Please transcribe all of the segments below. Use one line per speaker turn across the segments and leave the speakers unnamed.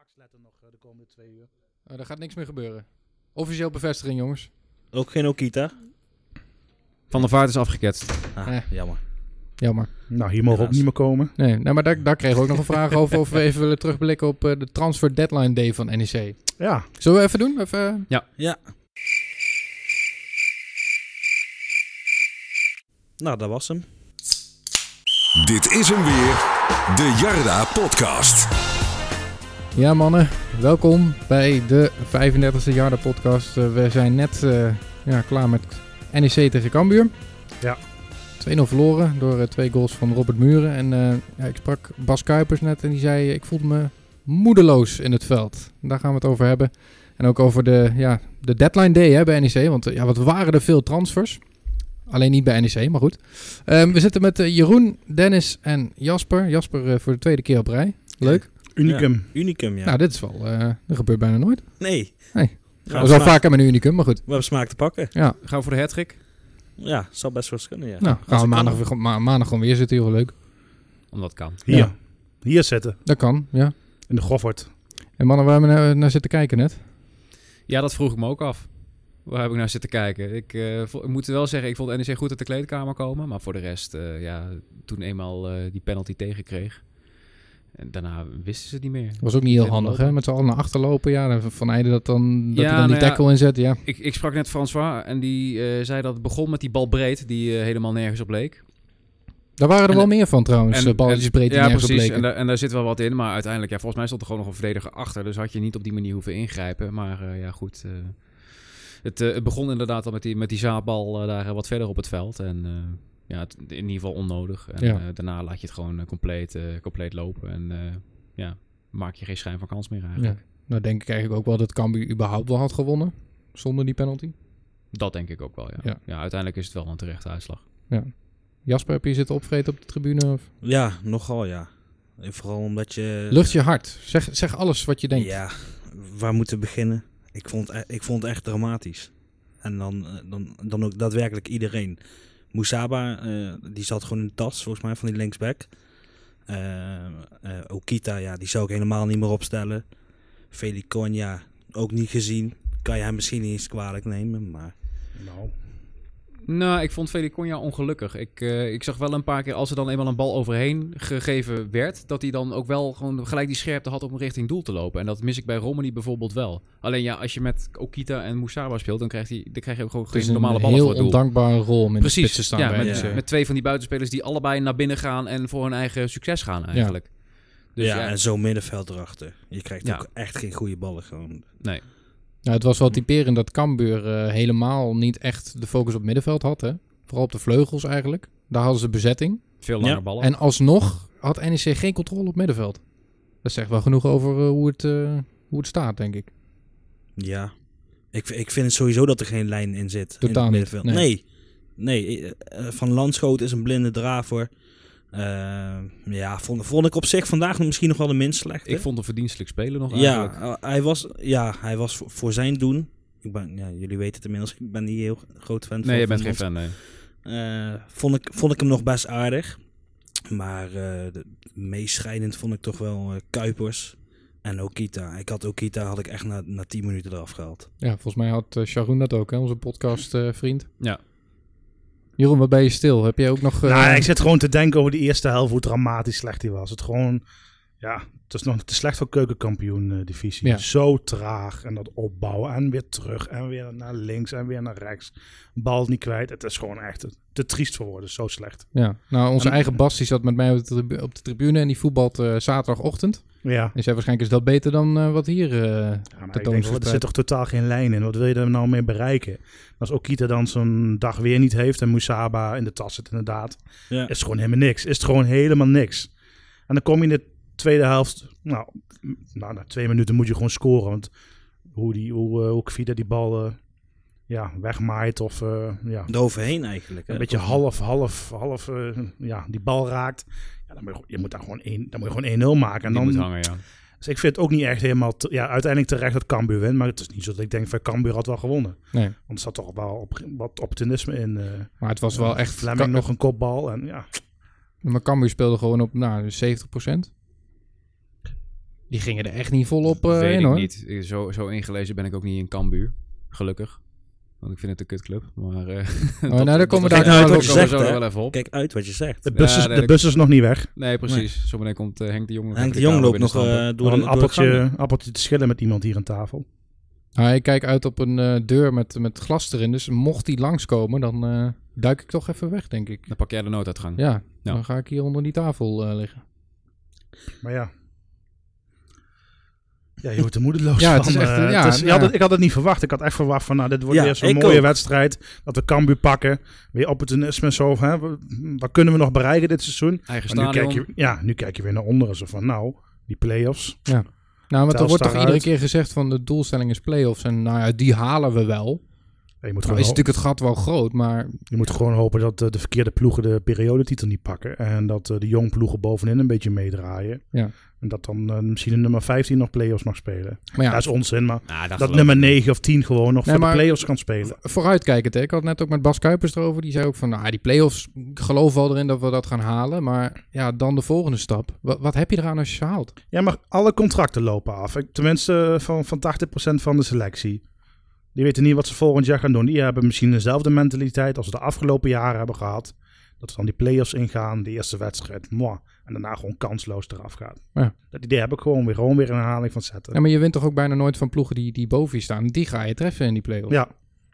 Axletter nog eh, de komende twee uur.
Nou, daar gaat niks meer gebeuren. Officieel bevestiging, jongens.
Ook geen Okita.
Van der Vaart is afgeketst.
Ah,
Eh.
jammer.
Jammer.
Nou, hier mogen we ook
Helaas.
niet meer komen.
Nee, nou, maar daar, daar kregen we ook nog een vraag over. Of we even willen terugblikken op eh, de transfer deadline day van NEC.
Ja,
Zullen we even doen? Even, eh,
Ja. Nou, dat was hem.
Dit is hem weer, de Jarda Podcast.
Ja mannen, welkom bij de 35e Jarda podcast. Eh, we zijn net eh, ja, klaar met NEC tegen Cambuur.
Ja.
2-0 verloren door eh, twee goals van Robert Muren. En eh, ja, ik sprak Bas Kuipers net en die zei eh, ik voelde me moedeloos in het veld. Daar gaan we het over hebben. En ook over de, ja, de deadline day hè, bij NEC. Want eh, ja, wat waren er veel transfers. Alleen niet bij NEC, maar goed. Ehm, we zitten met eh, Jeroen, Dennis en Jasper. Jasper eh, voor de tweede keer op rij. Leuk.
unicum.
Unicum, ja.
Nou, dit is wel... eh dat gebeurt bijna nooit.
nee.
Nee.
We
Dat was al vaker met een unicum, maar goed.
We hebben smaak te pakken.
Ja,
Gaan we voor de hattrick?
Ja, zal best wel eens kunnen, ja.
nou, gaan
Als
we
ik
maandag,
kan.
weer- ma- maandag gewoon weer zitten, heel leuk.
Omdat kan.
Hier.
Ja.
Hier zitten.
Dat kan, ja.
In de Goffert.
En mannen, waar hebben we naar, naar zitten kijken net?
Ja, dat vroeg ik me ook af. Waar heb ik naar zitten kijken? Ik, eh, vo- ik moet wel zeggen, ik vond NEC goed uit de kleedkamer komen. Maar voor de rest, eh, ja, toen eenmaal eh, die penalty tegenkreeg. En daarna wisten ze het niet meer.
was ook niet heel
Even
handig,
lopen.
hè? Met z'n allen naar achter lopen, ja. dan Van Eijden dat dan, dat
Ja,
hij dan die
nou ja.
tackle inzet, ja.
Ik, ik sprak net François en die eh, zei dat het begon met die bal breed, die eh, helemaal nergens op leek.
Daar waren er
En-
wel meer van trouwens,
en-
eh, balletjes
en-
breed die
Ja,
nergens op
precies. En,
leken.
daar, en daar zit wel wat in. Maar uiteindelijk, ja, volgens mij stond er gewoon nog een verdediger achter. Dus had je niet op die manier hoeven ingrijpen. Maar eh, ja, goed. eh, het, eh, het begon inderdaad al met die, met die zaadbal eh, daar eh, wat verder op het veld. En eh, ja, het- in ieder geval onnodig. En
Ja.
eh, daarna laat je het gewoon eh, compleet, eh, compleet lopen. En eh, ja, maak je geen schijn van kans meer eigenlijk.
Ja. Nou denk ik eigenlijk ook wel dat Cambuur überhaupt wel had gewonnen. Zonder die penalty.
Dat denk ik ook wel, ja.
Ja.
ja. uiteindelijk is het wel een terechte uitslag.
Jasper, heb je zitten opvreten op de tribune? Of?
Ja, nogal, ja. En vooral omdat je...
Lucht je hart. Zeg, zeg alles wat je denkt.
Ja, waar moeten we beginnen? Ik vond, e- ik vond het echt dramatisch. En dan, eh, dan, dan ook daadwerkelijk iedereen. Moesaba, eh, die zat gewoon in de tas, volgens mij, van die linksback. Eh, eh, Okita, ja, die zou ik helemaal niet meer opstellen. Feliconia, ook niet gezien. Kan je hem misschien niet eens kwalijk nemen, maar...
Nou,
Nou, ik vond Feliconia ongelukkig. Ik, eh, ik zag wel een paar keer, als er dan eenmaal een bal overheen gegeven werd, dat hij dan ook wel gewoon gelijk die scherpte had om richting doel te lopen. En dat mis ik bij Romani bijvoorbeeld wel. Alleen ja, als je met Okita en Moussaba speelt, dan krijg, hij, dan krijg je ook gewoon
Het is
geen
een
normale ballen
heel
voor het doel.
ondankbare rol om in de spits
Precies,
te staan
ja,
bij eh,
met,
NEC.
met twee van die buitenspelers die allebei naar binnen gaan en voor hun eigen succes gaan eigenlijk. Dus
ja,
ja,
en zo'n middenveld erachter. Je krijgt
Ja.
ook echt geen goede ballen gewoon.
nee.
Nou, het was
Hm.
wel typerend dat Cambuur eh, helemaal niet echt de focus op middenveld had. Hè? Vooral op de vleugels eigenlijk. Daar hadden ze bezetting.
Veel langer
Ja.
ballen.
En alsnog had NEC geen controle op middenveld. Dat zegt wel genoeg over eh, hoe, het, eh, hoe het staat, denk ik.
Ja. Ik, ik vind het sowieso dat er geen lijn in zit.
Totaal
in het
niet,
middenveld.
nee.
Nee. nee. eh, eh, Van Landschoot is een blinde draver. Eh, ja, vond, vond ik op zich vandaag misschien nog wel de minst slechte.
ik vond hem verdienstelijk spelen nog
ja,
eigenlijk.
eh, hij was, ja, hij was voor, voor zijn doen. Ik ben, ja, jullie weten het inmiddels, ik ben niet heel groot fan van
Nee, je
Van
bent geen
Lans-
fan, nee.
eh, vond, ik, vond ik hem nog best aardig. Maar eh, de- meest schrijnend vond ik toch wel eh, Kuipers en Okita. Ik had Okita had ik echt na, na 10 minuten eraf gehaald.
Ja, volgens mij had eh, Sharon dat ook, hè, onze podcastvriend.
Ja.
Jeroen, wat ben je stil? Heb jij ook nog... eh,
Nou, ik zit gewoon te denken over die eerste helft, hoe dramatisch slecht die was. Het gewoon, ja, het is nog te slecht voor keukenkampioen-divisie.
Ja.
Zo traag en dat opbouwen en weer terug en weer naar links en weer naar rechts. Bal niet kwijt. Het is gewoon echt te triest voor woorden. Zo slecht.
Ja, nou, onze
En-
eigen Bas die zat met mij op de, tribu- op de tribune en die voetbalt eh, zaterdagochtend.
Ja.
En zei waarschijnlijk is dat beter dan eh, wat hier... eh,
Ja, maar ik denk,
tentoongesteld
er
werd.
zit toch totaal geen lijn in. Wat wil je er nou mee bereiken? Als Okita dan zo'n dag weer niet heeft en Musaba in de tas zit inderdaad,
Ja.
is het gewoon helemaal niks. Is het gewoon helemaal niks. En dan kom je in de tweede helft, nou, m- nou na twee minuten moet je gewoon scoren. Want hoe, die, hoe, eh, hoe Kvida die bal eh, ja, wegmaait of eh, ja,
Eroverheen eigenlijk.
een
hè?
beetje half, half, half eh, ja, die bal raakt. Ja, dan moet je, gewoon- je moet daar gewoon één- dan moet je gewoon 1-0 maken.
En
En
die
dan,
moet hangen, ja.
dus ik vind het ook niet echt helemaal... te- ja, uiteindelijk terecht dat Cambuur wint. Maar het is niet zo dat ik denk van Cambuur had wel gewonnen.
Nee.
Want er zat toch wel op, wat optimisme in. eh
Maar het was wel echt...
Fleming nog een kopbal. En ja,
dus Maar Cambuur speelde gewoon op nou, 70%. Die Die gingen er echt niet volop eh,
Weet
in
ik
hoor.
niet. Ik- Zo, zo ingelezen ben ik ook niet in Cambuur. Gelukkig. Want ik vind het een kutclub. Maar eh
nou, daar komen we
dat-
daar nou uit wat
dat-
je
komen we
zegt,
zo nog
hè?
wel even op.
Kijk uit wat je zegt.
De bus,
Ja,
is,
nee,
de
dat-
bus is nog niet weg.
Nee, precies. Zometeen komt eh, Henk de Jong nog
Henk
even
de Jong
kamer
loopt nog eh,
binnenstampen.
Door
door
een
de door de gangen.
appeltje, appeltje te schillen met iemand hier aan tafel.
Nou, ik kijk uit op een eh, deur met, met glas erin. Dus mocht die langskomen, dan eh, duik ik toch even weg, denk ik.
Dan pak jij de nooduitgang.
Ja, dan ga ik hier onder die tafel eh, liggen.
Maar ja. Ja, je wordt er moedeloos
Ja,
van.
het is echt,
eh,
ja,
het is- je
ja.
had het- ik had het niet verwacht. Ik had echt verwacht van, nou, dit wordt
Ja,
weer zo'n
ik
mooie
ook.
wedstrijd. Dat we Cambuur pakken. Weer opportunisme zo. Hè, w- wat kunnen we nog bereiken dit seizoen?
Eigen
Oh,
Maar nu
stadion.
kijk, je, ja, nu kijk je weer naar onderen. Zo van, nou, die play-offs.
Nou, want er
Telstar
wordt toch iedere
uit.
keer gezegd van de doelstelling is play-offs. En nou ja, die halen we wel.
Ja, Je moet,
Nou
gewoon,
is
ho-
natuurlijk het gat wel groot, maar
je moet gewoon hopen dat eh, de verkeerde ploegen de periodetitel niet pakken. En dat eh, de jong ploegen bovenin een beetje meedraaien.
Ja.
En dat dan eh, misschien de nummer 15 nog play-offs mag spelen.
Maar ja.
Dat is onzin, maar
Ah, dat
dat
geloof ik.
nummer 9 of 10 gewoon nog
Nee,
voor
maar-
de play-offs kan spelen.
vooruitkijkend. Hè? Ik had het net ook met Bas Kuipers erover. Die zei ook van, nou, die play-offs, ik geloof wel erin dat we dat gaan halen. Maar ja, dan de volgende stap. Wat, wat heb je eraan als je ze haalt?
Ja, maar alle contracten lopen af. Ik- Tenminste, eh, van, van 80% van de selectie. Die weten niet wat ze volgend jaar gaan doen. Die hebben misschien dezelfde mentaliteit als ze de afgelopen jaren hebben gehad. Dat ze dan die play-offs ingaan, de eerste wedstrijd, moi. En daarna gewoon kansloos eraf gaat.
Ja.
Dat idee heb ik gewoon weer, gewoon weer een herhaling van zetten.
Ja, maar je wint toch ook bijna nooit van ploegen die, die boven je staan. Die ga je treffen in die play-offs.
Ja,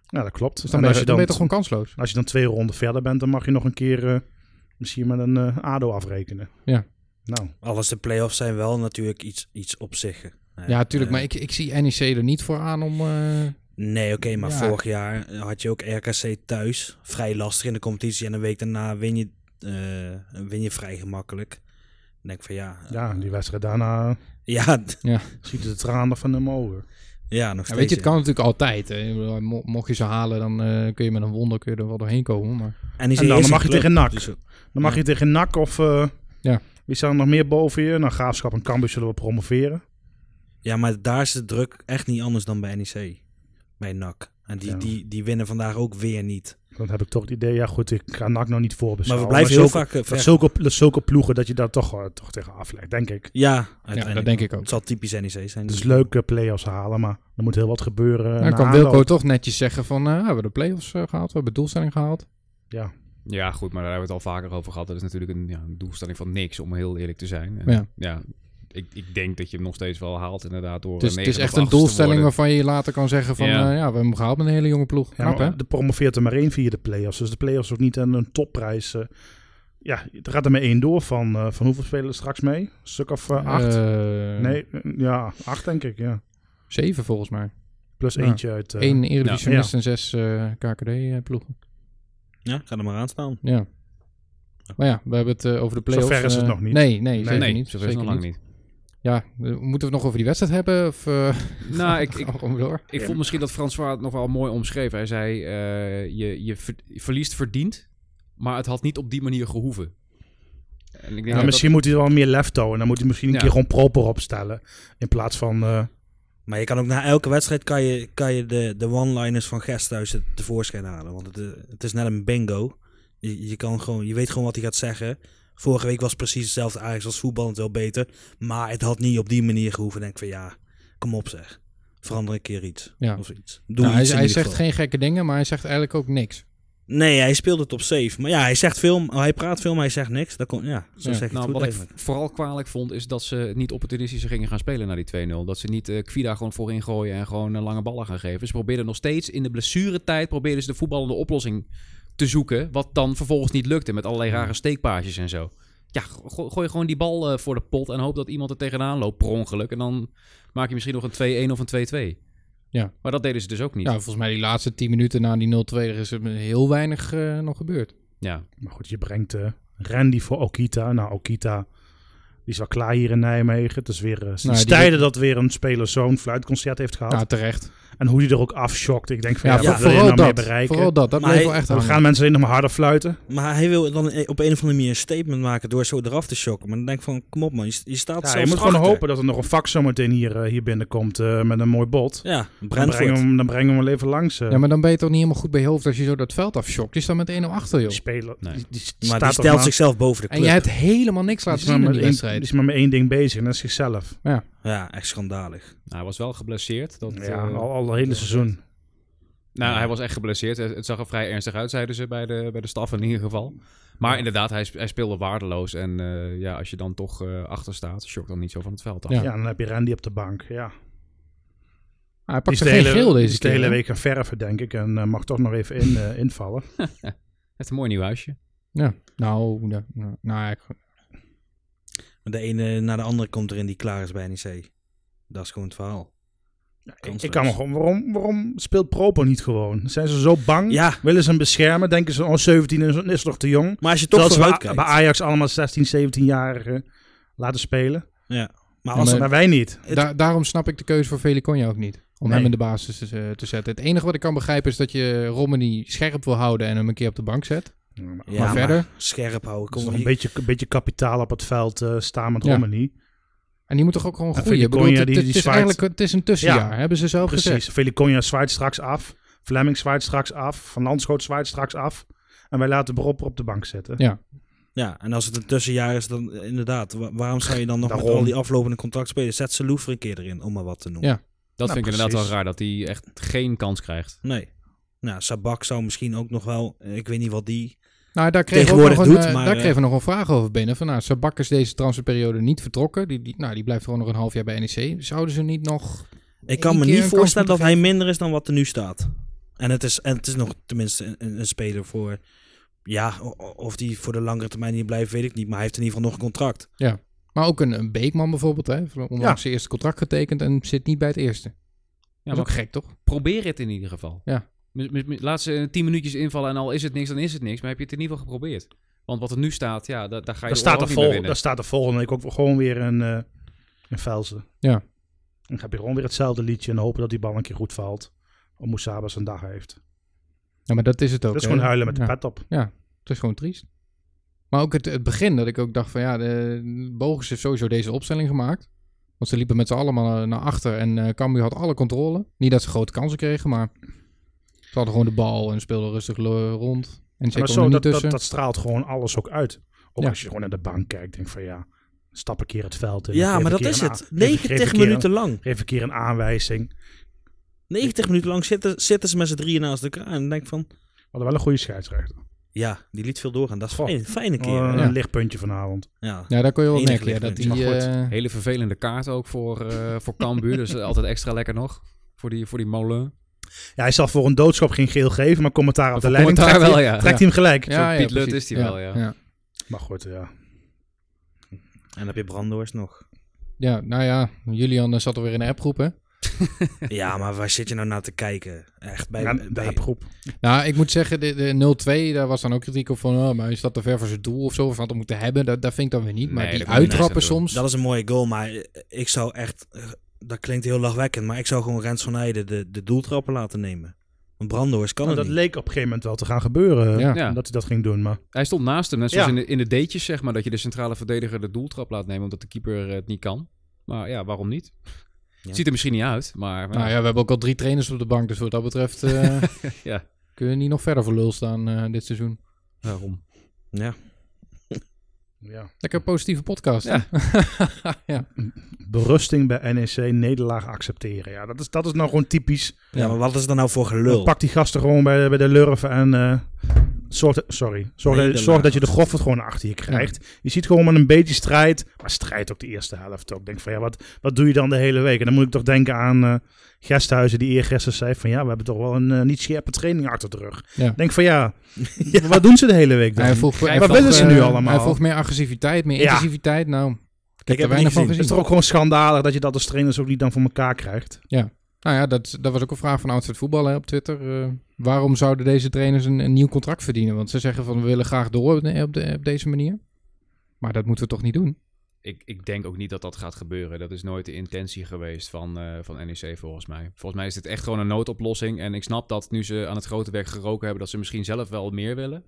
ja dat klopt.
Dus dan
En
ben,
als
je,
je
dan ben je
dan,
toch gewoon kansloos.
als je dan twee ronden verder bent, dan mag je nog een keer eh, misschien met een eh, ADO afrekenen.
Ja.
Nou,
Alles de play-offs zijn wel natuurlijk iets, iets op zich. Eh,
Ja, tuurlijk.
eh,
Maar ik, ik zie NEC er niet voor aan om... eh,
Nee, oké, maar
Ja.
vorig jaar had je ook RKC thuis. Vrij lastig in de competitie. En een week daarna win je, eh, win je vrij gemakkelijk. Dan denk ik van ja. eh,
ja, die wedstrijd daarna
ja, d-
schieten de tranen van hem over.
ja, nog
Ja,
steeds.
weet je, het
ja.
kan natuurlijk altijd. Hè. Ik bedoel, mo- Mocht je ze halen, dan eh, kun je met een wonder kun je er wel doorheen komen. Maar...
En, die
En dan
is een
mag je
club,
tegen NAC.
dus-
Dan mag je tegen NAC of... eh,
Ja.
Wie staan er nog meer boven je? Nou, Graafschap en Cambuur zullen we promoveren.
ja, maar daar is de druk echt niet anders dan bij NEC. Bij NAC. En die,
Ja.
die, die winnen vandaag ook weer niet.
Dan heb ik toch het idee, ja goed, ik ga NAC nog niet
Maar
voorbeschouwen.
we blijven heel
zulke-
vaak eh, ver.
Dat zulke, dat zulke ploegen dat je daar toch, eh, toch tegen afleidt, denk ik.
Ja,
Ja,
uiteindelijk.
dat denk ik ook.
Het zal typisch NEC zijn.
Het is leuk eh, play-offs halen, maar er moet heel wat gebeuren. eh,
Nou, Dan
na
kan
aanloop.
Wilco toch netjes zeggen van, eh, we hebben de play-offs eh, gehaald, we hebben de doelstelling gehaald.
Ja,
Ja, goed, maar daar hebben we het al vaker over gehad. Dat is natuurlijk een, ja, een doelstelling van niks, om heel eerlijk te zijn. En,
Ja.
ja. ik, ik denk dat je hem nog steeds wel haalt, inderdaad. Door
Het is,
eh,
Dus het is
negen
echt
of
een
achtste te
doelstelling
worden.
waarvan je later kan zeggen van, eh, ja,
Ja.
we hebben hem gehaald met een hele jonge ploeg.
ja
Knap, hè?
maar de promoveert er maar één via de play-offs. Dus de play-offs ook niet aan een topprijs. eh. ja, er gaat er maar één door van, eh, van hoeveel spelen er straks mee? Een stuk of eh, acht?
Eh,
nee, eh, ja, acht denk ik, ja.
Zeven volgens mij.
Plus
Ja.
eentje uit... eh,
Eén Eredivisionist
ja.
en zes eh, KKD-ploegen.
Ja, ga er maar aan staan.
Ja. Maar ja, we hebben het eh, over de play-offs.
Zover is het
eh,
nog niet.
Nee, nee, zeker
Nee,
niet.
zover is
zeker
het nog lang niet.
Ja, eh, moeten we het nog over die wedstrijd hebben? Of, eh,
Nou, ik, ik,
gaan we gewoon door?
Ik vond misschien dat François het nog wel mooi omschreef. Hij zei, eh, je, je ver- je verliest verdiend, maar het had niet op die manier gehoeven. En ik denk
Ja,
dat
misschien moet hij wel meer left houden. Dan moet hij misschien een
Ja.
keer gewoon proper opstellen. In plaats van... eh,
Maar je kan ook na elke wedstrijd kan je, kan je de, de one-liners van Gesthuis te- tevoorschijn halen. Want het, eh, het is net een bingo. Je, je, kan gewoon, je weet gewoon wat hij gaat zeggen. Vorige week was precies hetzelfde Ajax als voetballend wel beter. Maar het had niet op die manier gehoeven. Denk ik van ja, kom op zeg. Verander een keer iets.
Ja.
Of iets. Doe
Nou, hij,
iets in
hij
ieder
zegt
geval.
geen gekke dingen, maar hij zegt eigenlijk ook niks.
Nee, hij speelt het op safe. Maar ja, hij zegt veel. Hij praat veel, maar hij zegt niks. Dat kon, ja, zo
Ja.
zeg je het
nou,
goed
wat ik
eigenlijk.
vooral kwalijk vond, is dat ze niet opportunistisch gingen gaan spelen naar die 2-0. Dat ze niet eh Kvida gewoon voorin gooien en gewoon eh, lange ballen gaan geven. Ze probeerden nog steeds in de blessuretijd probeerden ze de voetballende oplossing te zoeken. Wat dan vervolgens niet lukte met allerlei rare steekpaasjes en zo. Ja, go- gooi gewoon die bal eh, voor de pot en hoop dat iemand er tegenaan loopt per ongeluk. En dan maak je misschien nog een 2-1 of een 2-2.
Ja.
Maar dat deden ze dus ook niet.
Ja, volgens mij die laatste 10 minuten na die 0-2 er is er heel weinig eh, nog gebeurd.
Ja. Nou,
maar goed, je brengt eh, Randy voor Okita. Nou, Okita die is wel klaar hier in Nijmegen. Het is weer eh, sinds
Nou, die
tijden
weet-
dat weer een speler zo'n fluitconcert heeft gehad.
Nou, terecht.
En hoe die er ook afschokt. Ik denk van,
Ja,
ja,
voor-
wat wil je
vooral,
nou meer
dat,
bereiken?
vooral dat. Dat
Maar
bleef
hij-
wel echt
we
hangen.
gaan mensen alleen nog maar harder fluiten.
Maar hij wil dan e- op een of andere manier een statement maken door zo eraf te shocken. Maar dan denk ik van, kom op man, je, je staat
Ja,
zelfs
je moet gewoon
achter.
hopen dat er nog een fax zometeen hier, eh, hier binnenkomt eh, met een mooi bod.
Ja,
Dan brengen,
Brentford.
we hem, dan brengen we hem wel even langs. eh.
Ja, maar dan ben je toch niet helemaal goed bij je hoofd als je zo dat veld afschokt. Die staat met 1-0 achter, joh.
Die speler
Nee.
die, die
Maar
staat
die
toch
stelt
maar-
zichzelf boven de
En
club.
je hebt helemaal niks
die
laten
is maar
zien in die
met één- die
wedstrijd.
is maar met één ding bezig en dat is zichzelf.
Ja.
Ja, echt schandalig.
Nou, hij was wel geblesseerd. Dat,
ja,
eh,
al, al het hele seizoen.
Nou, hij was echt geblesseerd. Het het zag er vrij ernstig uit, zeiden ze bij de, bij de staf in ieder geval. Maar inderdaad, hij, sp- hij speelde waardeloos. En eh, ja, als je dan toch eh, achter staat, shock dan niet zo van het veld af.
Ja.
Ja,
Ja. dan heb je Randy op de bank. Ja.
Ah, hij
Die
pakte geen geel
die
deze
is de
keer.
hele
hè?
week gaan verven, denk ik. En eh, mag toch nog even in, eh, invallen.
Heeft een mooi nieuw huisje.
Ja. Nou, ja, nou, nou, ik-
Maar De ene na de andere komt erin die klaar is bij NEC. Dat is gewoon het verhaal.
Ik, ik kan
dus.
me gewoon... Waarom, waarom speelt Propo niet gewoon? Zijn ze zo bang?
Ja,
Willen ze hem beschermen? Denken ze, oh, 17 is, is nog te jong?
maar als je toch
Terwijl
vooruit
ze bij,
kijkt.
bij Ajax allemaal 16, 17-jarigen laten spelen.
Maar
Ja,
als
maar-
Maar wij niet.
Het-
da- daarom snap ik de keuze voor Velikonja ook niet. Om
Nee.
hem in de basis te, z- te zetten. Het enige wat ik kan begrijpen is dat je Romani scherp wil houden en hem een keer op de bank zet.
Ja, maar
Ja,
maar verder.
scherp houden.
Kom,
Kom,
nog een
hier-
beetje, een beetje kapitaal op het veld eh, staan met
Ja.
Romani.
En die moet toch ook gewoon
Ja,
groeien. Ik bedoel,
Velikonja,
het,
die-
het
die
is
zwaait-
eigenlijk het is een tussenjaar,
Ja,
hebben ze zelf Oh, gezegd.
Precies. Velikonja zwaait straks af. Fleming zwaait straks af. Van Landschoot zwaait straks af. En wij laten Bropper op de bank zetten.
Ja.
Ja, en als het een tussenjaar is, dan eh, inderdaad. wa- waarom zou je dan nog met
Daarom.
al die aflopende contracten spelen? Zet ze Loever een keer erin, om maar wat te noemen.
Ja.
Dat
Nou,
vind ik inderdaad
precies.
wel raar, dat hij echt geen kans krijgt.
Nee. Nou, Sabak zou misschien ook nog wel... eh, Ik weet niet wat die...
Nou, daar kregen we ook nog
Tegenwoordig
een,
doet,
eh,
maar,
daar
eh,
kregen we nog een vraag over binnen. Van, nou, Sabak is deze transferperiode niet vertrokken. Die, die, nou, die blijft gewoon nog een half jaar bij NEC. Zouden ze niet nog...
Ik kan
Eén
me
keer
niet
een kans
voorstellen dat
moeten
hij minder is dan wat er nu staat. En het is, en het is nog tenminste een- een, een speler voor... Ja, o- o- of die voor de langere termijn hier blijft, weet ik niet. Maar hij heeft in ieder geval nog een contract.
Maar ook een, een Beekman bijvoorbeeld. Hè, van onlangs
Ja.
zijn eerste contract getekend en zit niet bij het eerste.
Ja,
dat is ook
maar
gek, toch?
probeer het in ieder geval.
Ja.
M- m- m- Laat ze eh, tien minuutjes invallen en al is het niks, dan is het niks. Maar heb je het in ieder geval geprobeerd? Want wat er nu staat, ja, da- daar ga je
Daar
de
staat,
oorlog
er
niet meer
vol,
winnen.
daar staat er volgende week ook gewoon weer een, eh een Velsen.
Ja.
En dan heb je gewoon weer hetzelfde liedje en hopen dat die bal een keer goed valt. Of Moesaba zijn dag heeft.
Ja, maar dat is het ook.
Dat is
hè.
gewoon huilen met de
Ja,
pet op.
Het is gewoon triest. Maar ook het, het begin, dat ik ook dacht van ja, de Bogus heeft sowieso deze opstelling gemaakt. Want ze liepen met z'n allemaal eh, naar achter en eh Cambuur had alle controle. Niet dat ze grote kansen kregen, maar ze hadden gewoon de bal en speelden rustig lo- rond. En ze
Maar
kwamen
zo,
er
dat,
niet
dat,
tussen.
dat straalt gewoon alles ook uit. Ook
Ja.
als je gewoon naar de bank kijkt, denk van ja, stap een keer het veld in.
ja,
Geef
maar
een
dat
keer
is
een
het.
aan- geef- geef een
90
keer een-
minuten lang.
Geef een keer een aanwijzing. We
90 minuten lang zitten, zitten ze met z'n drieën naast elkaar. En dan denk ik van...
hadden wel een goede scheidsrechter.
Ja, die liet veel doorgaan. Dat is
Goh.
fijn, fijne
Oh,
keer. hè?
Een
Ja.
lichtpuntje vanavond.
Ja.
Ja, daar kon je wel
Enig
merken. Ja, dat
lichtpunt,
die,
maar goed.
eh,
Hele vervelende kaart ook voor, eh voor Cambuur. dus altijd extra lekker nog. Voor die, voor die molen.
Ja, hij zal voor een doodschap geen geel geven, maar commentaar op de
Voor
leiding
commentaar
trekt,
wel,
hij,
ja.
trekt hij hem gelijk.
Zo'n Piet Lut
precies.
is die wel, ja.
ja.
Maar goed, ja.
En dan heb je Brandoors nog.
Ja, nou ja, Julian eh, zat er weer in de appgroep, hè?
ja, maar waar zit je nou naar te kijken? Echt bij...
ja de
bij-
appgroep.
Nou, ik moet zeggen, de, de 0-2, daar was dan ook kritiek op van, oh, maar is dat te ver voor zijn doel of zo? Of had hem moeten hebben? Dat, dat vind ik dan weer niet. Maar
Nee,
die
dat kan je niet
uittrappen
zeggen,
soms.
Dat is een mooie goal, maar eh, ik zou echt... eh, Dat klinkt heel lachwekkend, maar ik zou gewoon Rens van Heijden de, de doeltrappen laten nemen. Een Brandoors kan
Nou,
het
dat
niet.
leek op een gegeven moment wel te gaan gebeuren.
Ja.
Ja.
Dat hij dat ging doen, maar
Hij stond naast hem, net zoals
Ja.
in, de, in de deetjes, zeg maar, dat je de centrale verdediger de doeltrap laat nemen omdat de keeper eh, het niet kan. Maar ja, waarom niet?
Ja.
Ziet er misschien niet uit, maar
Nou ja, we hebben ook al drie trainers op de bank, dus wat dat betreft eh,
Ja.
kunnen we niet nog verder voor lul staan eh, dit seizoen.
waarom?
Ja.
ja.
Lekker positieve podcast.
Ja.
ja.
berusting bij NEC, nederlaag accepteren. Ja, dat is, dat is nou gewoon typisch.
ja, maar wat is er nou voor
Dan
gelul?
Pak die gasten gewoon bij, bij de lurven en eh, zorg, sorry, zorg,
Nee, de
zorg dat je de
lurven.
goffert gewoon achter je krijgt. Je ziet gewoon met een beetje strijd, maar strijd ook de eerste helft ook. Ik Denk van ja, wat, wat doe je dan de hele week? En dan moet ik toch denken aan eh Gesthuizen die eergisteren zei van ja, we hebben toch wel een eh, niet scherpe training achter de rug.
Ja.
Ik Denk van ja, wat doen ze de hele week dan?
Hij vroeg, hij
Wat
vroeg,
willen ze
eh,
nu allemaal?
Hij vroeg meer agressiviteit, meer
Ja.
intensiviteit. Nou, ik heb
heb
er
het
weinig
niet
van
gezien.
Het is
gezien.
toch ook gewoon schandalig dat je dat als trainers ook niet dan voor elkaar krijgt.
Nou ja, dat, dat was ook een vraag van Outfit Voetbal hè, op Twitter. Eh, waarom zouden deze trainers een, een nieuw contract verdienen? Want ze zeggen van we willen graag door op, de- op, de- op deze manier. Maar dat moeten we toch niet doen?
Ik, ik denk ook niet dat dat gaat gebeuren. Dat is nooit de intentie geweest van, eh, van NEC volgens mij. Volgens mij is dit echt gewoon een noodoplossing. En ik snap dat nu ze aan het grote werk geroken hebben, dat ze misschien zelf wel meer willen.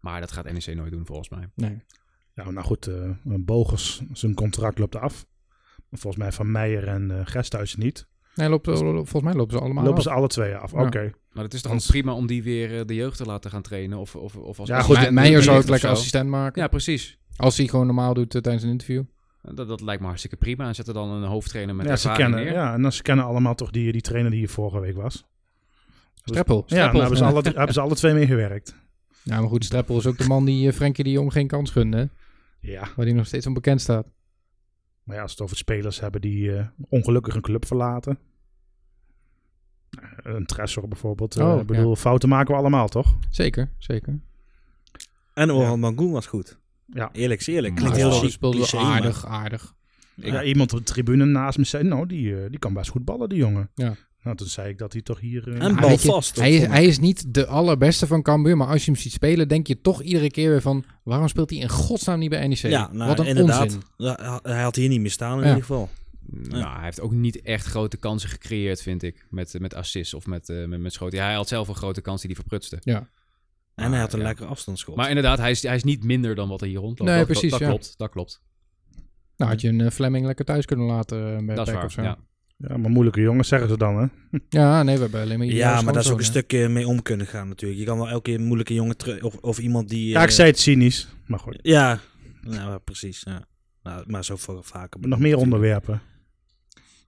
Maar dat gaat NEC nooit doen volgens mij.
Nee.
Nou, nou goed, eh Bogers, zijn contract loopt af. Volgens mij van Meijer en eh Gesthuizen niet.
nee loopt, eh, volgens mij lopen ze allemaal
Lopen
af.
ze alle twee af.
Ja.
Oké.
Maar het is toch
Want-
ook prima om die weer eh, de jeugd te laten gaan trainen? Of, of, of als
Ja,
Me-
goed,
assistent
Meijer
of
zou
zo.
ik lekker assistent maken.
Ja, precies.
Als hij gewoon normaal doet eh, tijdens een interview.
Dat, dat lijkt me hartstikke prima. En zet er dan een hoofdtrainer met
ja, ze
ervaring
kennen,
neer.
ja, en dan ze kennen allemaal toch die, die trainer die hier vorige week was.
Streppel.
Ja, daar
Streppel.
hebben ze alle, daar hebben ze alle twee mee gewerkt.
Ja, maar goed, Streppel is ook de man die eh, Frenkie die om geen kans gunde. hè?
Ja,
Waar die nog steeds onbekend staat.
maar ja, als we het over spelers hebben die eh, ongelukkig een club verlaten. Eh, Een Tressor bijvoorbeeld. eh,
Oh,
ik bedoel, fouten maken we allemaal, toch?
Zeker, zeker.
En Orhan Mangoen was goed.
Ja.
Eerlijk is eerlijk.
Maar
Klinkt
ja,
heel
ze
chic,
speelde
cliché, maar-
aardig, aardig.
Ik-
ja, iemand op de tribune naast me zei, nou, die, eh, die kan best goed ballen, die jongen.
Ja.
Nou, toen zei ik dat hij toch hier... eh,
En
Maar
bal
weet je,
vast. dat
Hij is,
vond ik.
hij is niet de allerbeste van Cambuur, maar als je hem ziet spelen, denk je toch iedere keer weer van... waarom speelt hij in godsnaam niet bij NEC?
ja, nou,
Wat een
inderdaad.
onzin.
Ja, Hij had hier niet meer staan in
Ja.
ieder geval.
Nou, hij heeft ook niet echt grote kansen gecreëerd, vind ik. Met, met assists of met, eh, met, met schoten. Ja, hij had zelf een grote kans die hij verprutste.
Ja.
En
Maar,
hij had een
ja.
lekker afstandsschot.
Maar inderdaad, hij is, hij is niet minder dan wat er hier rondloopt.
Nee,
dat,
precies,
Dat, dat
ja.
klopt, dat klopt.
Nou, had je een eh, Fleming lekker thuis kunnen laten eh, bij
dat is
Peck
waar,
of zo.
ja.
Ja, maar moeilijke jongens zeggen ze dan, hè?
Ja, nee, we hebben alleen maar...
ja, maar daar is ook een
schoonzoon,
stukje mee om kunnen gaan natuurlijk. Je kan wel elke keer een moeilijke jongen terug... Of, of iemand die...
Ja,
eh,
ik zei het cynisch, maar goed.
Ja, nou, ja, precies. Ja. Nou, maar zo voor- vaker.
Nog meer onderwerpen.
hè.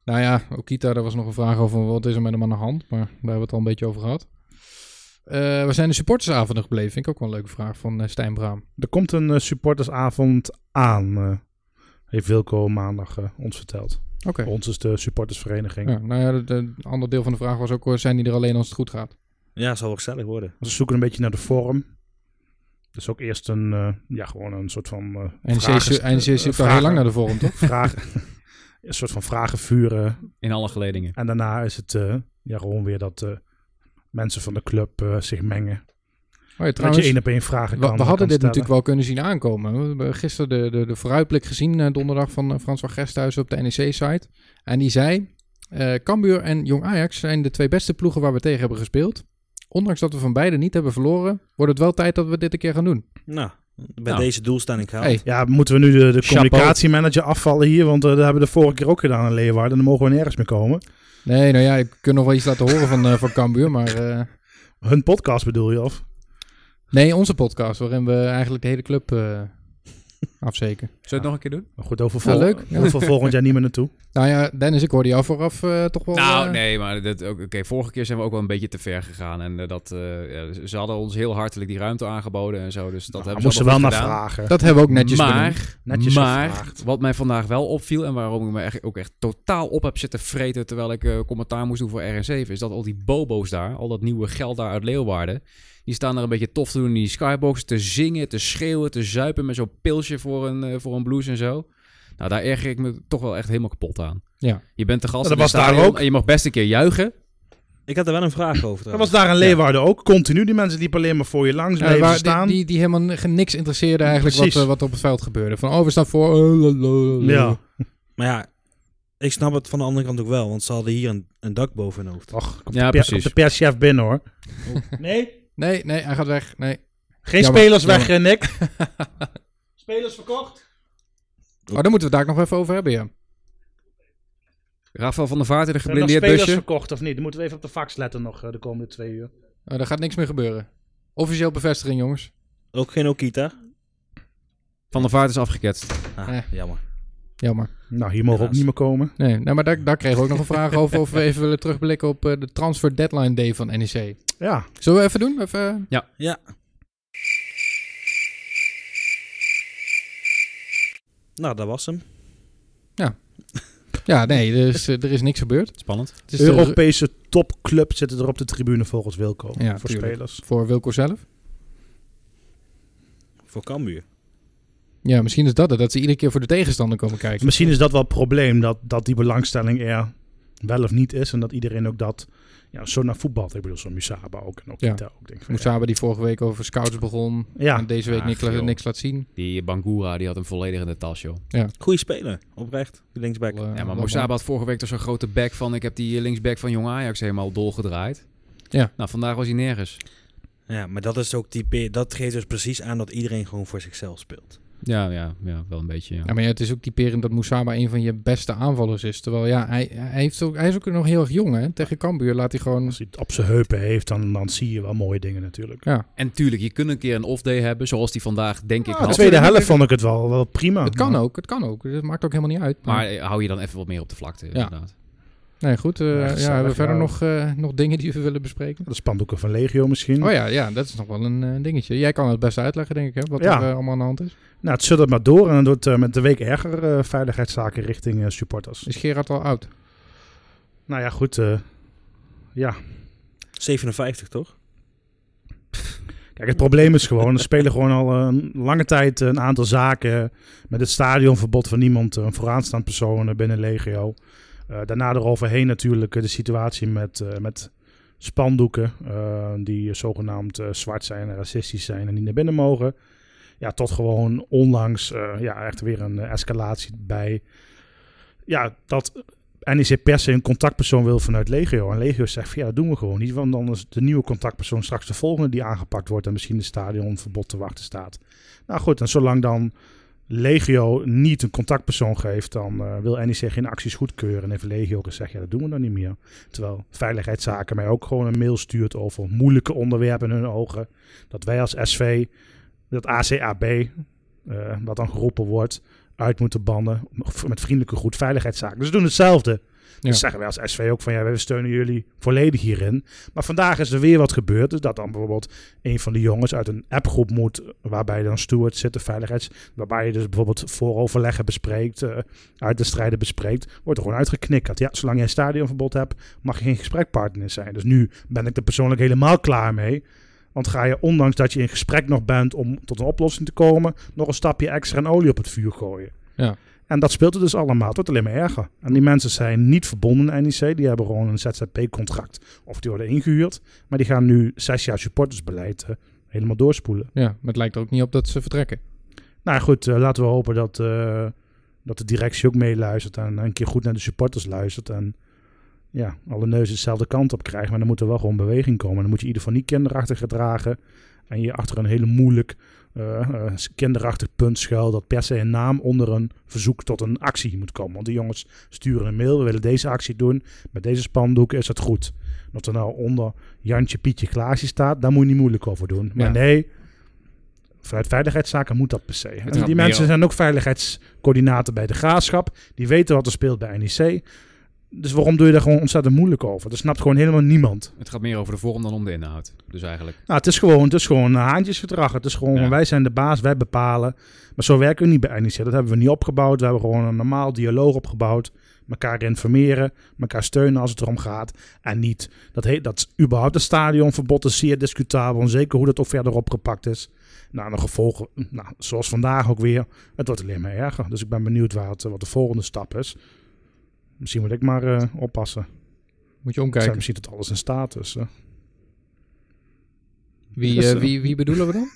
Nou ja, Okita, daar was nog een vraag over wat is er met hem aan de hand. Maar daar hebben we het al een beetje over gehad. Eh, we zijn de supportersavonden gebleven. Vind ik ook wel een leuke vraag van eh, Stijn Braam.
Er komt een eh, supportersavond aan, eh, heeft Wilco maandag eh, ons verteld.
Oké.
Ons is de supportersvereniging.
Ja, nou ja, het ander deel van de vraag was ook, eh, zijn die er alleen als het goed gaat?
Ja, zal wel gezellig worden.
Ze zoeken een beetje naar de vorm. Dus ook eerst een, eh, ja, gewoon een soort van eh,
En NEC
vragen-
zo- NEC
eh,
zoekt al
vragen-
heel lang naar de vorm, toch?
vragen, een soort van vragen vuren.
In alle geledingen.
En daarna is het eh, ja, gewoon weer dat eh, mensen van de club eh, zich mengen.
Oh ja,
dat
trouwens,
je één op één vragen
we,
kan
we hadden
kan
dit
stellen.
natuurlijk wel kunnen zien aankomen. We hebben gisteren de, de, de vooruitblik gezien eh, donderdag van eh, Frans van Gesthuizen op de NEC-site. En die zei, eh Cambuur en Jong Ajax zijn de twee beste ploegen waar we tegen hebben gespeeld. Ondanks dat we van beide niet hebben verloren, wordt het wel tijd dat we dit een keer gaan doen.
Nou, bij
Nou.
deze doelstelling gehaald.
Hey.
Ja, moeten we nu de, de
Chapeau.
communicatiemanager afvallen hier? Want eh, dat hebben we de vorige keer ook gedaan in Leeuwarden. Dan mogen we nergens meer komen.
Nee, nou ja, ik kan nog wel iets laten horen van, eh, van Cambuur, maar... eh,
Hun podcast bedoel je? Of?
nee, onze podcast, waarin we eigenlijk de hele club eh afzeken.
Zullen we het nog een keer doen?
Maar goed, over,
Ja,
vol-
leuk.
over volgend jaar niet meer naartoe.
Nou ja, Dennis, ik hoorde jou vooraf eh, toch wel...
Nou,
eh,
nee, maar dat, ook- oké, vorige keer zijn we ook wel een beetje te ver gegaan. En eh, dat, eh, ja, ze- ze hadden ons heel hartelijk die ruimte aangeboden en zo. Dus dat
Nou,
hebben ze
moesten wel
allemaal
naar
goed gedaan.
vragen.
Dat hebben we ook netjes
maar,
benoemd.
Netjes
maar
gevraagd.
wat mij vandaag wel opviel en waarom ik me echt, ook echt totaal op heb zitten vreten terwijl ik eh, commentaar moest doen voor RN7, is dat al die bobo's daar, al dat nieuwe geld daar uit Leeuwarden, die staan daar een beetje tof te doen in die skybox, te zingen, te schreeuwen, te zuipen met zo'n pilsje voor een, eh, voor een blues en zo. Nou, daar erger ik me toch wel echt helemaal kapot aan.
Ja.
Je bent de gast
Ja,
in het
Nou, dat was daar
stadion
ook.
en je mag best een keer juichen.
Ik had er wel een vraag over.
Dat
trouwens.
was daar in Leeuwarden ook. Continu die mensen liepen alleen maar voor je langs
Ja,
Dus bleven
Eh, waar-
staan.
Die, die, die helemaal ge- niks interesseerde eigenlijk wat,
Precies.
eh, wat er op het veld gebeurde. Van, oh, we staan voor... eh, la, la, la.
Ja.
Maar ja, ik snap het van de andere kant ook wel. Want ze hadden hier een, een dak boven hun hoofd.
Och, komt
Ja,
de, per-
precies.
komt de perschef binnen hoor. Nee,
Nee, nee, hij gaat weg. Nee.
geen
Jammer,
spelers weg,
jammer.
eh, Nick. spelers verkocht.
Oh, daar moeten we het daar nog even over hebben, ja.
Rafael van der Vaart in een
Hebben we nog
geblindeerd
spelers
busje.
verkocht of niet? Dan moeten we even op de fax letten nog eh, de komende twee uur.
Oh, daar gaat niks meer gebeuren. Officieel bevestiging, jongens.
Ook geen Okita.
Van der Vaart is afgeketst.
Ah,
Eh.
Jammer.
Jammer.
Nou, hier mogen we ook
Helaas.
niet meer komen.
Nee, nou, maar daar, daar kregen we ook nog een vraag over of we even willen terugblikken op eh, de transfer deadline day van NEC.
Ja,
Zullen we even doen? Even, eh,
Ja. Nou, dat was hem.
Ja, nee, dus, eh, er is niks gebeurd.
Spannend.
Het is Dus eh, de-
Europese topclub zitten er op de tribune volgens Wilco.
Ja,
voor
tuurlijk.
spelers.
voor Wilco zelf.
Voor Cambuur.
Ja, misschien is dat het. Dat ze iedere keer voor de tegenstander komen kijken.
Misschien is dat wel het probleem, dat, dat die belangstelling er wel of niet is. En dat iedereen ook dat, ja, zo naar voetbal. Ik bedoel, zo Musaba ook en ook
Ja.
Kita ook. Denk ik van, ja.
Moesaba die vorige week over scouts begon. En
Ja, Ah,
deze week
Ach,
niks,
joh.
niks laat zien.
Die Bangura, die had hem volledig in de tas, joh.
Goeie speler. Oprecht. Die linksback.
Wel, eh,
Ja, maar
wel
Mozaba had vorige week toch zo'n grote back van... ik heb die eh, linksback van Jong Ajax helemaal dolgedraaid.
Ja.
Nou, vandaag was hij nergens.
Ja, maar dat is ook type. Dat geeft dus precies aan dat iedereen gewoon voor zichzelf speelt.
Ja, ja, ja, wel een beetje. Ja.
Ja, maar ja, het is ook typerend dat Moussaba een van je beste aanvallers is. Terwijl ja, hij, hij, heeft ook, hij is ook nog heel erg jong. Hè? Tegen Cambuur laat hij gewoon...
Als hij het op zijn heupen heeft, dan, dan zie je wel mooie dingen natuurlijk.
Ja,
En tuurlijk, je kunt een keer een off-day hebben, zoals die vandaag denk ik
Ah,
De
had.
twee-
tweede helft vond ik het wel, wel prima.
het kan
Maar-
ook. Het kan ook. Het maakt ook helemaal niet uit.
Maar eh, hou je dan even wat meer op de vlakte, inderdaad.
nee, goed. eh,
Ja,
ja,
gezellig,
hebben we verder
ja.
nog, eh, nog dingen die we willen bespreken?
De spandoeken van Legio misschien.
Oh ja, ja, dat is nog wel een eh, dingetje. Jij kan het best uitleggen, denk ik, hè, wat
Ja.
er eh, allemaal aan de hand is.
Nou, het zullen maar door en dan wordt eh, met de week erger eh, veiligheidszaken richting eh, supporters.
Is Gerard al oud?
Nou ja, goed. eh, ja,
57 toch?
Kijk, het probleem is gewoon, er spelen gewoon al een lange tijd een aantal zaken met het stadionverbod van niemand, eh, een vooraanstaand persoon binnen Legio. Eh, daarna eroverheen natuurlijk eh, de situatie met, eh, met spandoeken eh, die zogenaamd eh, zwart zijn, en racistisch zijn en niet naar binnen mogen. Ja, tot gewoon onlangs eh, ja, echt weer een eh, escalatie bij. Ja, dat NEC per se een contactpersoon wil vanuit Legio. En Legio zegt van ja, dat doen we gewoon niet. Want dan is de nieuwe contactpersoon straks de volgende die aangepakt wordt. En misschien het stadionverbod te wachten staat. Nou goed, en zolang dan Legio niet een contactpersoon geeft, dan eh, wil NEC geen acties goedkeuren. En heeft Legio gezegd, ja, dat doen we dan niet meer. Terwijl Veiligheidszaken mij ook gewoon een mail stuurt over moeilijke onderwerpen in hun ogen. Dat wij als SV, dat ACAB, eh, wat dan geroepen wordt, uit moeten bannen met vriendelijke goed veiligheidszaken. Dus ze doen hetzelfde.
Ja.
Dus zeggen wij als SV ook van ja, we steunen jullie volledig hierin. Maar vandaag is er weer wat gebeurd. Dus dat dan bijvoorbeeld een van de jongens uit een appgroep moet, waarbij dan stewards zitten, veiligheids, waarbij je dus bijvoorbeeld vooroverleggen bespreekt, eh, uit de strijden bespreekt, wordt er gewoon uitgeknikkerd. Ja, zolang jij een stadionverbod hebt, mag je geen gesprekpartner zijn. Dus nu ben ik er persoonlijk helemaal klaar mee. Want ga je, ondanks dat je in gesprek nog bent om tot een oplossing te komen, nog een stapje extra en olie op het vuur gooien.
Ja.
En dat speelt het dus allemaal. Het wordt alleen maar erger. En die mensen zijn niet verbonden aan NEC. Die hebben gewoon een ZZP-contract. Of die worden ingehuurd. Maar die gaan nu zes jaar supportersbeleid eh, helemaal doorspoelen.
Ja, maar het lijkt er ook niet op dat ze vertrekken.
Nou ja, goed, eh, laten we hopen dat, eh, dat de directie ook meeluistert. En een keer goed naar de supporters luistert. En ja, alle neuzen dezelfde kant op krijgen. Maar dan moet er wel gewoon beweging komen. Dan moet je in ieder geval niet kinderachtig gedragen. En je achter een hele moeilijk eh, eh, kinderachtig punt schuil. Dat per se een naam onder een verzoek tot een actie moet komen. Want de jongens sturen een mail. We willen deze actie doen. Met deze spandoeken is dat goed. En of er nou onder Jantje, Pietje, Klaasje staat. Daar moet je niet moeilijk over doen. Maar
Ja.
nee... Vanuit veiligheidszaken moet dat per se. En
gaat
die
meer
mensen
om-
zijn ook veiligheidscoördinator bij de graafschap. Die weten wat er speelt bij NEC. Dus waarom doe je daar gewoon ontzettend moeilijk over? Dat snapt gewoon helemaal niemand.
Het gaat meer over de vorm dan om de inhoud. Dus eigenlijk.
Nou, het is gewoon, het is gewoon haantjesgedrag. Het is gewoon,
Ja.
wij zijn de baas, wij bepalen. Maar zo werken we niet bij NEC. Dat hebben we niet opgebouwd. We hebben gewoon een normaal dialoog opgebouwd. Mekaar informeren, elkaar steunen als het erom gaat. En niet, dat, he, dat is überhaupt het stadionverbod is zeer discutabel. En zeker hoe dat ook verder opgepakt is. Nou, de gevolgen, nou, zoals vandaag ook weer. Het wordt alleen maar erger. Dus ik ben benieuwd waar het, eh, wat de volgende stap is. Misschien moet ik maar eh, oppassen.
Moet je
Kijk.
omkijken.
Sam ziet het alles in staat. Dus, eh.
Wie, eh, wie, wie bedoelen we dan?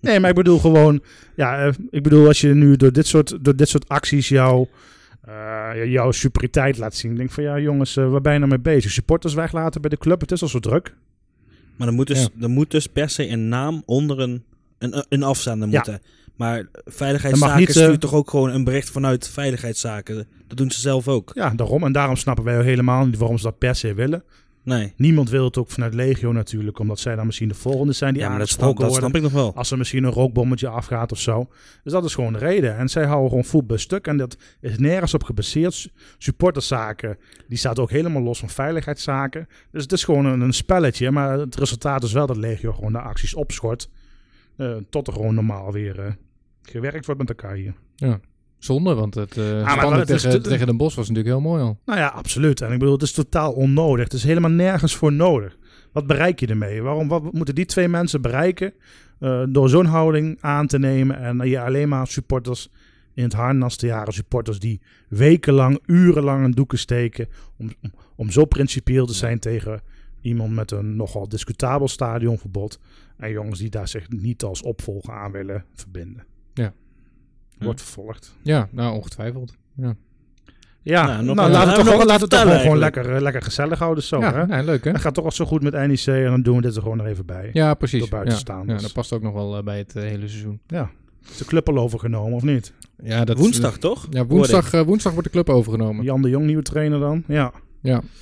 Nee, maar ik bedoel gewoon... Ja, eh, ik bedoel als je nu door dit soort, door dit soort acties jouw, eh, jouw superioriteit laat zien. denk van ja jongens, eh, waar ben je nou mee bezig? Supporters weglaten bij de club, het is al zo druk.
Maar er moet dus,
Ja.
er moet dus per se een naam onder een, een, een afzender
Ja.
moeten. Maar
Dat mag
veiligheidszaken
niet, eh,
stuurt toch ook gewoon een bericht vanuit veiligheidszaken. Dat doen ze zelf ook.
Ja, daarom. En daarom snappen wij helemaal niet waarom ze dat per se willen.
Nee.
Niemand wil het ook vanuit Legio natuurlijk, omdat zij dan misschien de volgende zijn die
Ja, maar dat snap,
aangesproken
dat
worden.
snap ik nog wel.
Als er misschien een rookbommetje afgaat of zo. Dus dat is gewoon de reden. En zij houden gewoon voet bij stuk. En dat is nergens op gebaseerd. Su- Supporterszaken, die staat ook helemaal los van veiligheidszaken. Dus het is gewoon een, een spelletje. Maar het resultaat is wel dat Legio gewoon de acties opschort. eh, tot er gewoon normaal weer eh, gewerkt wordt met elkaar hier.
Zonde, want het eh
Ah, maar
spandoek
het is dus-
tegen,
te-
tegen Den Bos was natuurlijk heel mooi al.
Nou ja, absoluut. En ik bedoel, het is totaal onnodig. Het is helemaal nergens voor nodig. Wat bereik je ermee? Waarom wat moeten die twee mensen bereiken eh, door zo'n houding aan te nemen en je alleen maar supporters in het harnas te jaren, supporters die wekenlang, urenlang een doeken steken om, om, om zo principieel te zijn tegen iemand met een nogal discutabel stadionverbod en jongens die daar zich niet als opvolger aan willen verbinden.
Ja.
Wordt vervolgd.
Ja, nou ongetwijfeld. Ja,
Ja,
Nou, nog-
nou, laten we
nog
toch gewoon-
wat
laten we het
vertellen
toch gewoon
eigenlijk.
lekker, eh, lekker gezellig houden zo, hè?
ja nee, leuk hè?
Het gaat toch al zo goed met NEC en dan doen we dit er gewoon nog even bij.
Ja, precies.
Door
Ja, ja,
buitenstaanders.
dat past ook nog wel eh, bij het eh, hele seizoen.
Ja. Is de club al overgenomen of niet?
Ja, dat, eh,
Woensdag, toch?
Ja, woensdag, eh, woensdag wordt de club overgenomen. Ja,
Jan de Jong, nieuwe trainer dan. Ja.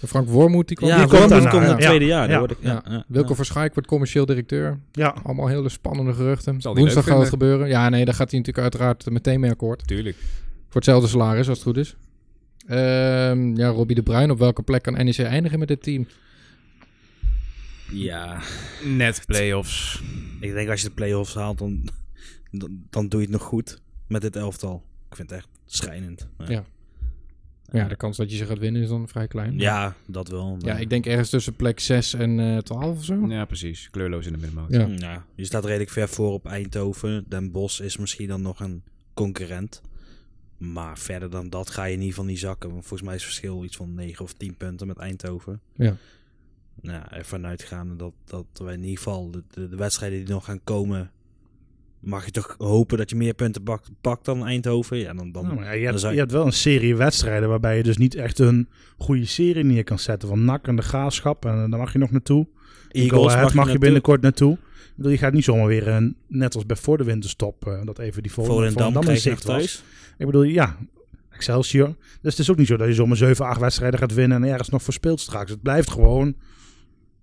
Frank Wormoed die kwam.
Ja,
die
Wormoed
komt
komt
daarna,
in het
ja.
tweede jaar. daar
Ja.
word ik- ja, ja,
Wilco
ja.
Verschaik wordt commercieel directeur.
Ja.
Oh,
Allemaal hele spannende geruchten.
Zal die
Woensdag
leuk
gaat het gebeuren. Ja, nee, daar gaat hij natuurlijk uiteraard eh, meteen mee akkoord.
Tuurlijk.
Voor hetzelfde salaris, als het goed is. Ehm, ja, Robbie de Bruin, op welke plek kan NEC eindigen met dit team?
Ja,
Net playoffs.
ik denk als je de play-offs haalt, dan, dan, dan doe je het nog goed met dit elftal. Ik vind het echt schrijnend.
Ja. Ja, de kans dat je ze gaat winnen is dan vrij klein.
Ja, dat wel. maar-
Ja, ik denk ergens tussen plek 6 en eh 12 of zo.
Ja, precies. Kleurloos in de middenmoot.
Ja.
Hmm, Ja, je staat redelijk ver voor op Eindhoven. Den Bosch is misschien dan nog een concurrent. Maar verder dan dat ga je niet van die zakken. Want volgens mij is het verschil iets van 9 of 10 punten met Eindhoven.
Ja.
Nou, ervan uitgaande dat, dat wij in ieder geval de, de, de wedstrijden die nog gaan komen... Mag je toch hopen dat je meer punten bak- pakt dan Eindhoven? Ja, dan, dan,
Nou, maar ja, je,
dan
hebt,
zou
je hebt wel een serie wedstrijden waarbij je dus niet echt een goede serie neer kan zetten. Van NAC en de Graafschap en eh, daar mag je nog naartoe. Go Ahead mag, je
naartoe.
binnenkort naartoe. Ik bedoel, je gaat niet zomaar weer, een, net als bij voor de winterstop, eh, dat even die volgende
Volendam
Volendam in
kreeg je
zicht
nog
was.
thuis.
Ik bedoel, ja, Excelsior. Dus het is ook niet zo dat je zomaar 7, 8 wedstrijden gaat winnen en ergens nog verspeelt straks. Het blijft gewoon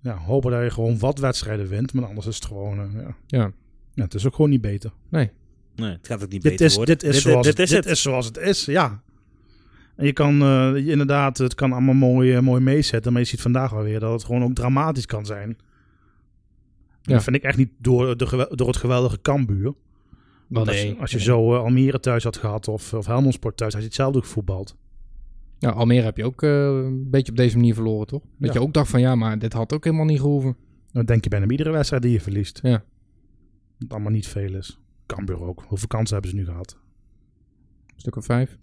ja, hopen dat je gewoon wat wedstrijden wint, maar anders is het gewoon... eh, ja.
Ja.
Ja, het is ook gewoon niet beter.
Nee, het gaat ook niet
Dit
beter
is,
worden.
dit, is zoals
dit
het,
is
dit
het.
is zoals het is, ja. En je kan eh, je- inderdaad, het kan allemaal mooi, eh, mooi meezetten, maar je ziet vandaag wel weer dat het gewoon ook dramatisch kan zijn. En
Ja.
Dat vind ik echt niet door, de, gewel- door het geweldige Kambuur. Want als, als je zo eh, Almere thuis had gehad of, of Helmond Sport thuis, had je hetzelfde ook gevoetbald.
Nou, Almere heb je ook eh, een beetje op deze manier verloren, toch? Dat
Ja.
je ook dacht van, ja, maar dit had ook helemaal niet gehoeven.
Dan denk je bijna bij iedere wedstrijd die je verliest.
Ja.
Dat allemaal niet veel is. Kambuur ook. Hoeveel kansen hebben ze nu gehad?
Een stuk of vijf.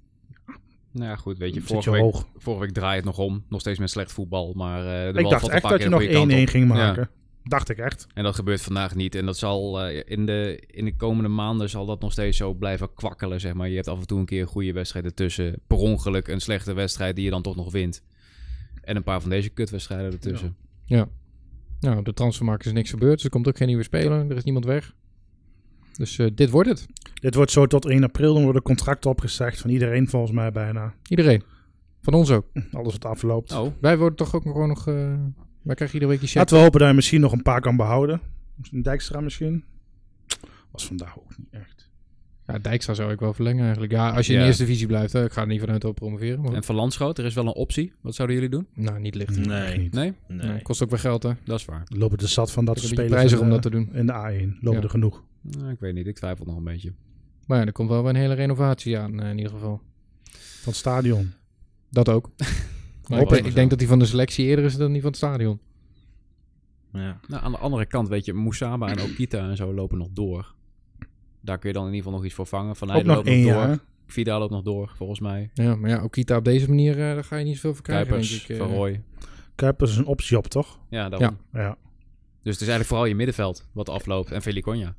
Nou ja, goed. Weet je,
Zit je
vorige week,
hoog.
vorige week draai je het nog om. Nog steeds met slecht voetbal. Maar eh, de
Ik
bal
dacht
valt een
echt
paar
dat
keer
je
de
nog 1-1
goede kant op.
ging
Ja.
maken. Dacht ik echt.
En dat gebeurt vandaag niet. En dat zal eh, in, de, in de komende maanden zal dat nog steeds zo blijven kwakkelen. Zeg maar. Je hebt af en toe een keer een goede wedstrijd ertussen. Per ongeluk een slechte wedstrijd die je dan toch nog wint. En een paar van deze kutwedstrijden ertussen.
Nou, op de transfermarkt is niks gebeurd. Dus er komt ook geen nieuwe speler. Er is niemand weg. Dus eh, dit wordt het.
Dit wordt zo tot 1 april. Dan worden contracten opgezegd van iedereen volgens mij bijna.
Iedereen. Van ons ook.
Alles wat afloopt.
Oh,
Wij worden toch ook gewoon nog... eh, wij krijgen iedere week die check.
Laten we hopen dat je misschien nog een paar kan behouden. Een Dijkstra misschien. Was vandaag ook niet echt.
Ja, Dijkstra zou ik wel verlengen eigenlijk. Ja, als je in
Ja.
de eerste divisie blijft. Hè, ik ga er niet vanuit dat we promoveren. Maar...
en van Landschoot, er is wel een optie. Wat zouden jullie doen?
Nou, niet licht.
Echt
Nee,
niet.
Nee,
nee.
Nou, kost ook weer geld, hè.
dat is waar.
Lopen er zat van dat
is
soort
een beetje
spelers. eh,
prijzig
in
om
de-
dat te doen.
In de A1 lopen
Ja.
er genoeg.
Nou, ik weet niet, ik twijfel nog een beetje.
Maar ja, er komt wel weer een hele renovatie aan eh, in ieder geval.
Van het stadion.
Dat ook. Maar ik,
Hopen
denk-
we
ik
zo.
denk dat die van de selectie eerder is dan die van het stadion.
Ja.
Nou, aan de andere kant, weet je, Moesaba en Okita en zo lopen nog door. Daar kun je dan in ieder geval nog iets voor vangen. Van
ook
Heijden
nog
loopt nog
één
door.
jaar.
Vida loopt nog door, volgens mij.
Ja, maar ja, Okita op deze manier, eh, daar ga je niet zoveel voor krijgen,
Kuipers,
denk ik. eh.
Van Rooij.
Kuipers is een optie op, toch?
Ja, daarom.
Ja.
Ja.
Dus het is eigenlijk vooral je middenveld wat afloopt. En Veliconja.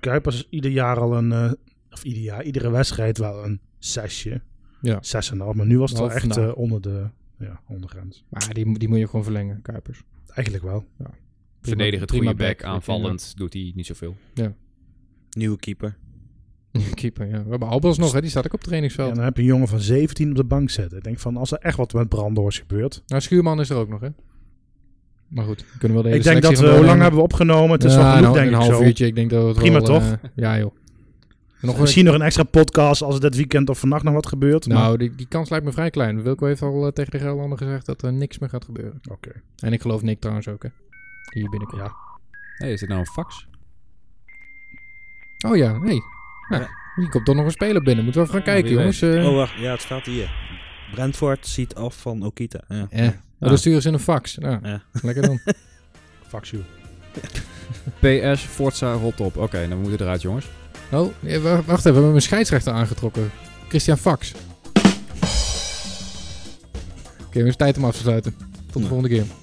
Kuipers is ieder jaar al een... eh, of ieder jaar, iedere wedstrijd wel een zesje.
Ja.
Zes en een half. Maar nu was het wel
Half
echt
na.
eh, onder de ja, ondergrens.
Maar die, die moet je gewoon verlengen, Kuipers.
Eigenlijk wel.
Prima-
Verdedigend,
prima
goede back.
back,
Aanvallend doet hij niet zoveel.
Nieuwe keeper.
Keeper, ja. We hebben Albers nog, hè. Die staat ook op het
Ja,
trainingsveld.
dan heb je een jongen van 17 op de bank zitten. Ik denk van, als er echt wat met Brandoors gebeurt...
Nou, Schuurman is er ook nog, hè. Maar goed, we kunnen wel de hele
Ik denk dat we,
we...
hoe lang hebben we opgenomen? Het is wel genoeg, denk
eh, een
ik
half
zo.
uurtje, ik denk dat we het
Prima,
wel,
toch?
eh, ja, joh. Nog een,
Misschien nog een extra podcast als het dit weekend of vannacht nog wat gebeurt. maar-
nou, die, die kans lijkt me vrij klein. Wilco heeft al eh, tegen de Gelderlander gezegd dat er niks meer gaat gebeuren.
Oké.
En ik geloof Nick trouwens ook, hè. Hier binnenkort.
Ja.
Nee, is dit nou een fax?
Oh ja, nee. Ja, Hier komt toch nog een speler binnen. Moeten we even gaan
Ja,
kijken,
wie
jongens. eh.
Oh, wacht. Ja, het staat hier. Brentford ziet af van Okita. Ja.
Eh, nou, dan sturen ze in een fax. Nou,
Ja.
lekker dan.
Fuck you.
PS, Forza, rot op. Oké, nou we moeten eruit, jongens.
Oh, eh, wa- wacht even. We hebben mijn scheidsrechter aangetrokken. Christian Fax. Oké, we het is tijd om af te sluiten. Tot de
Nou.
volgende keer.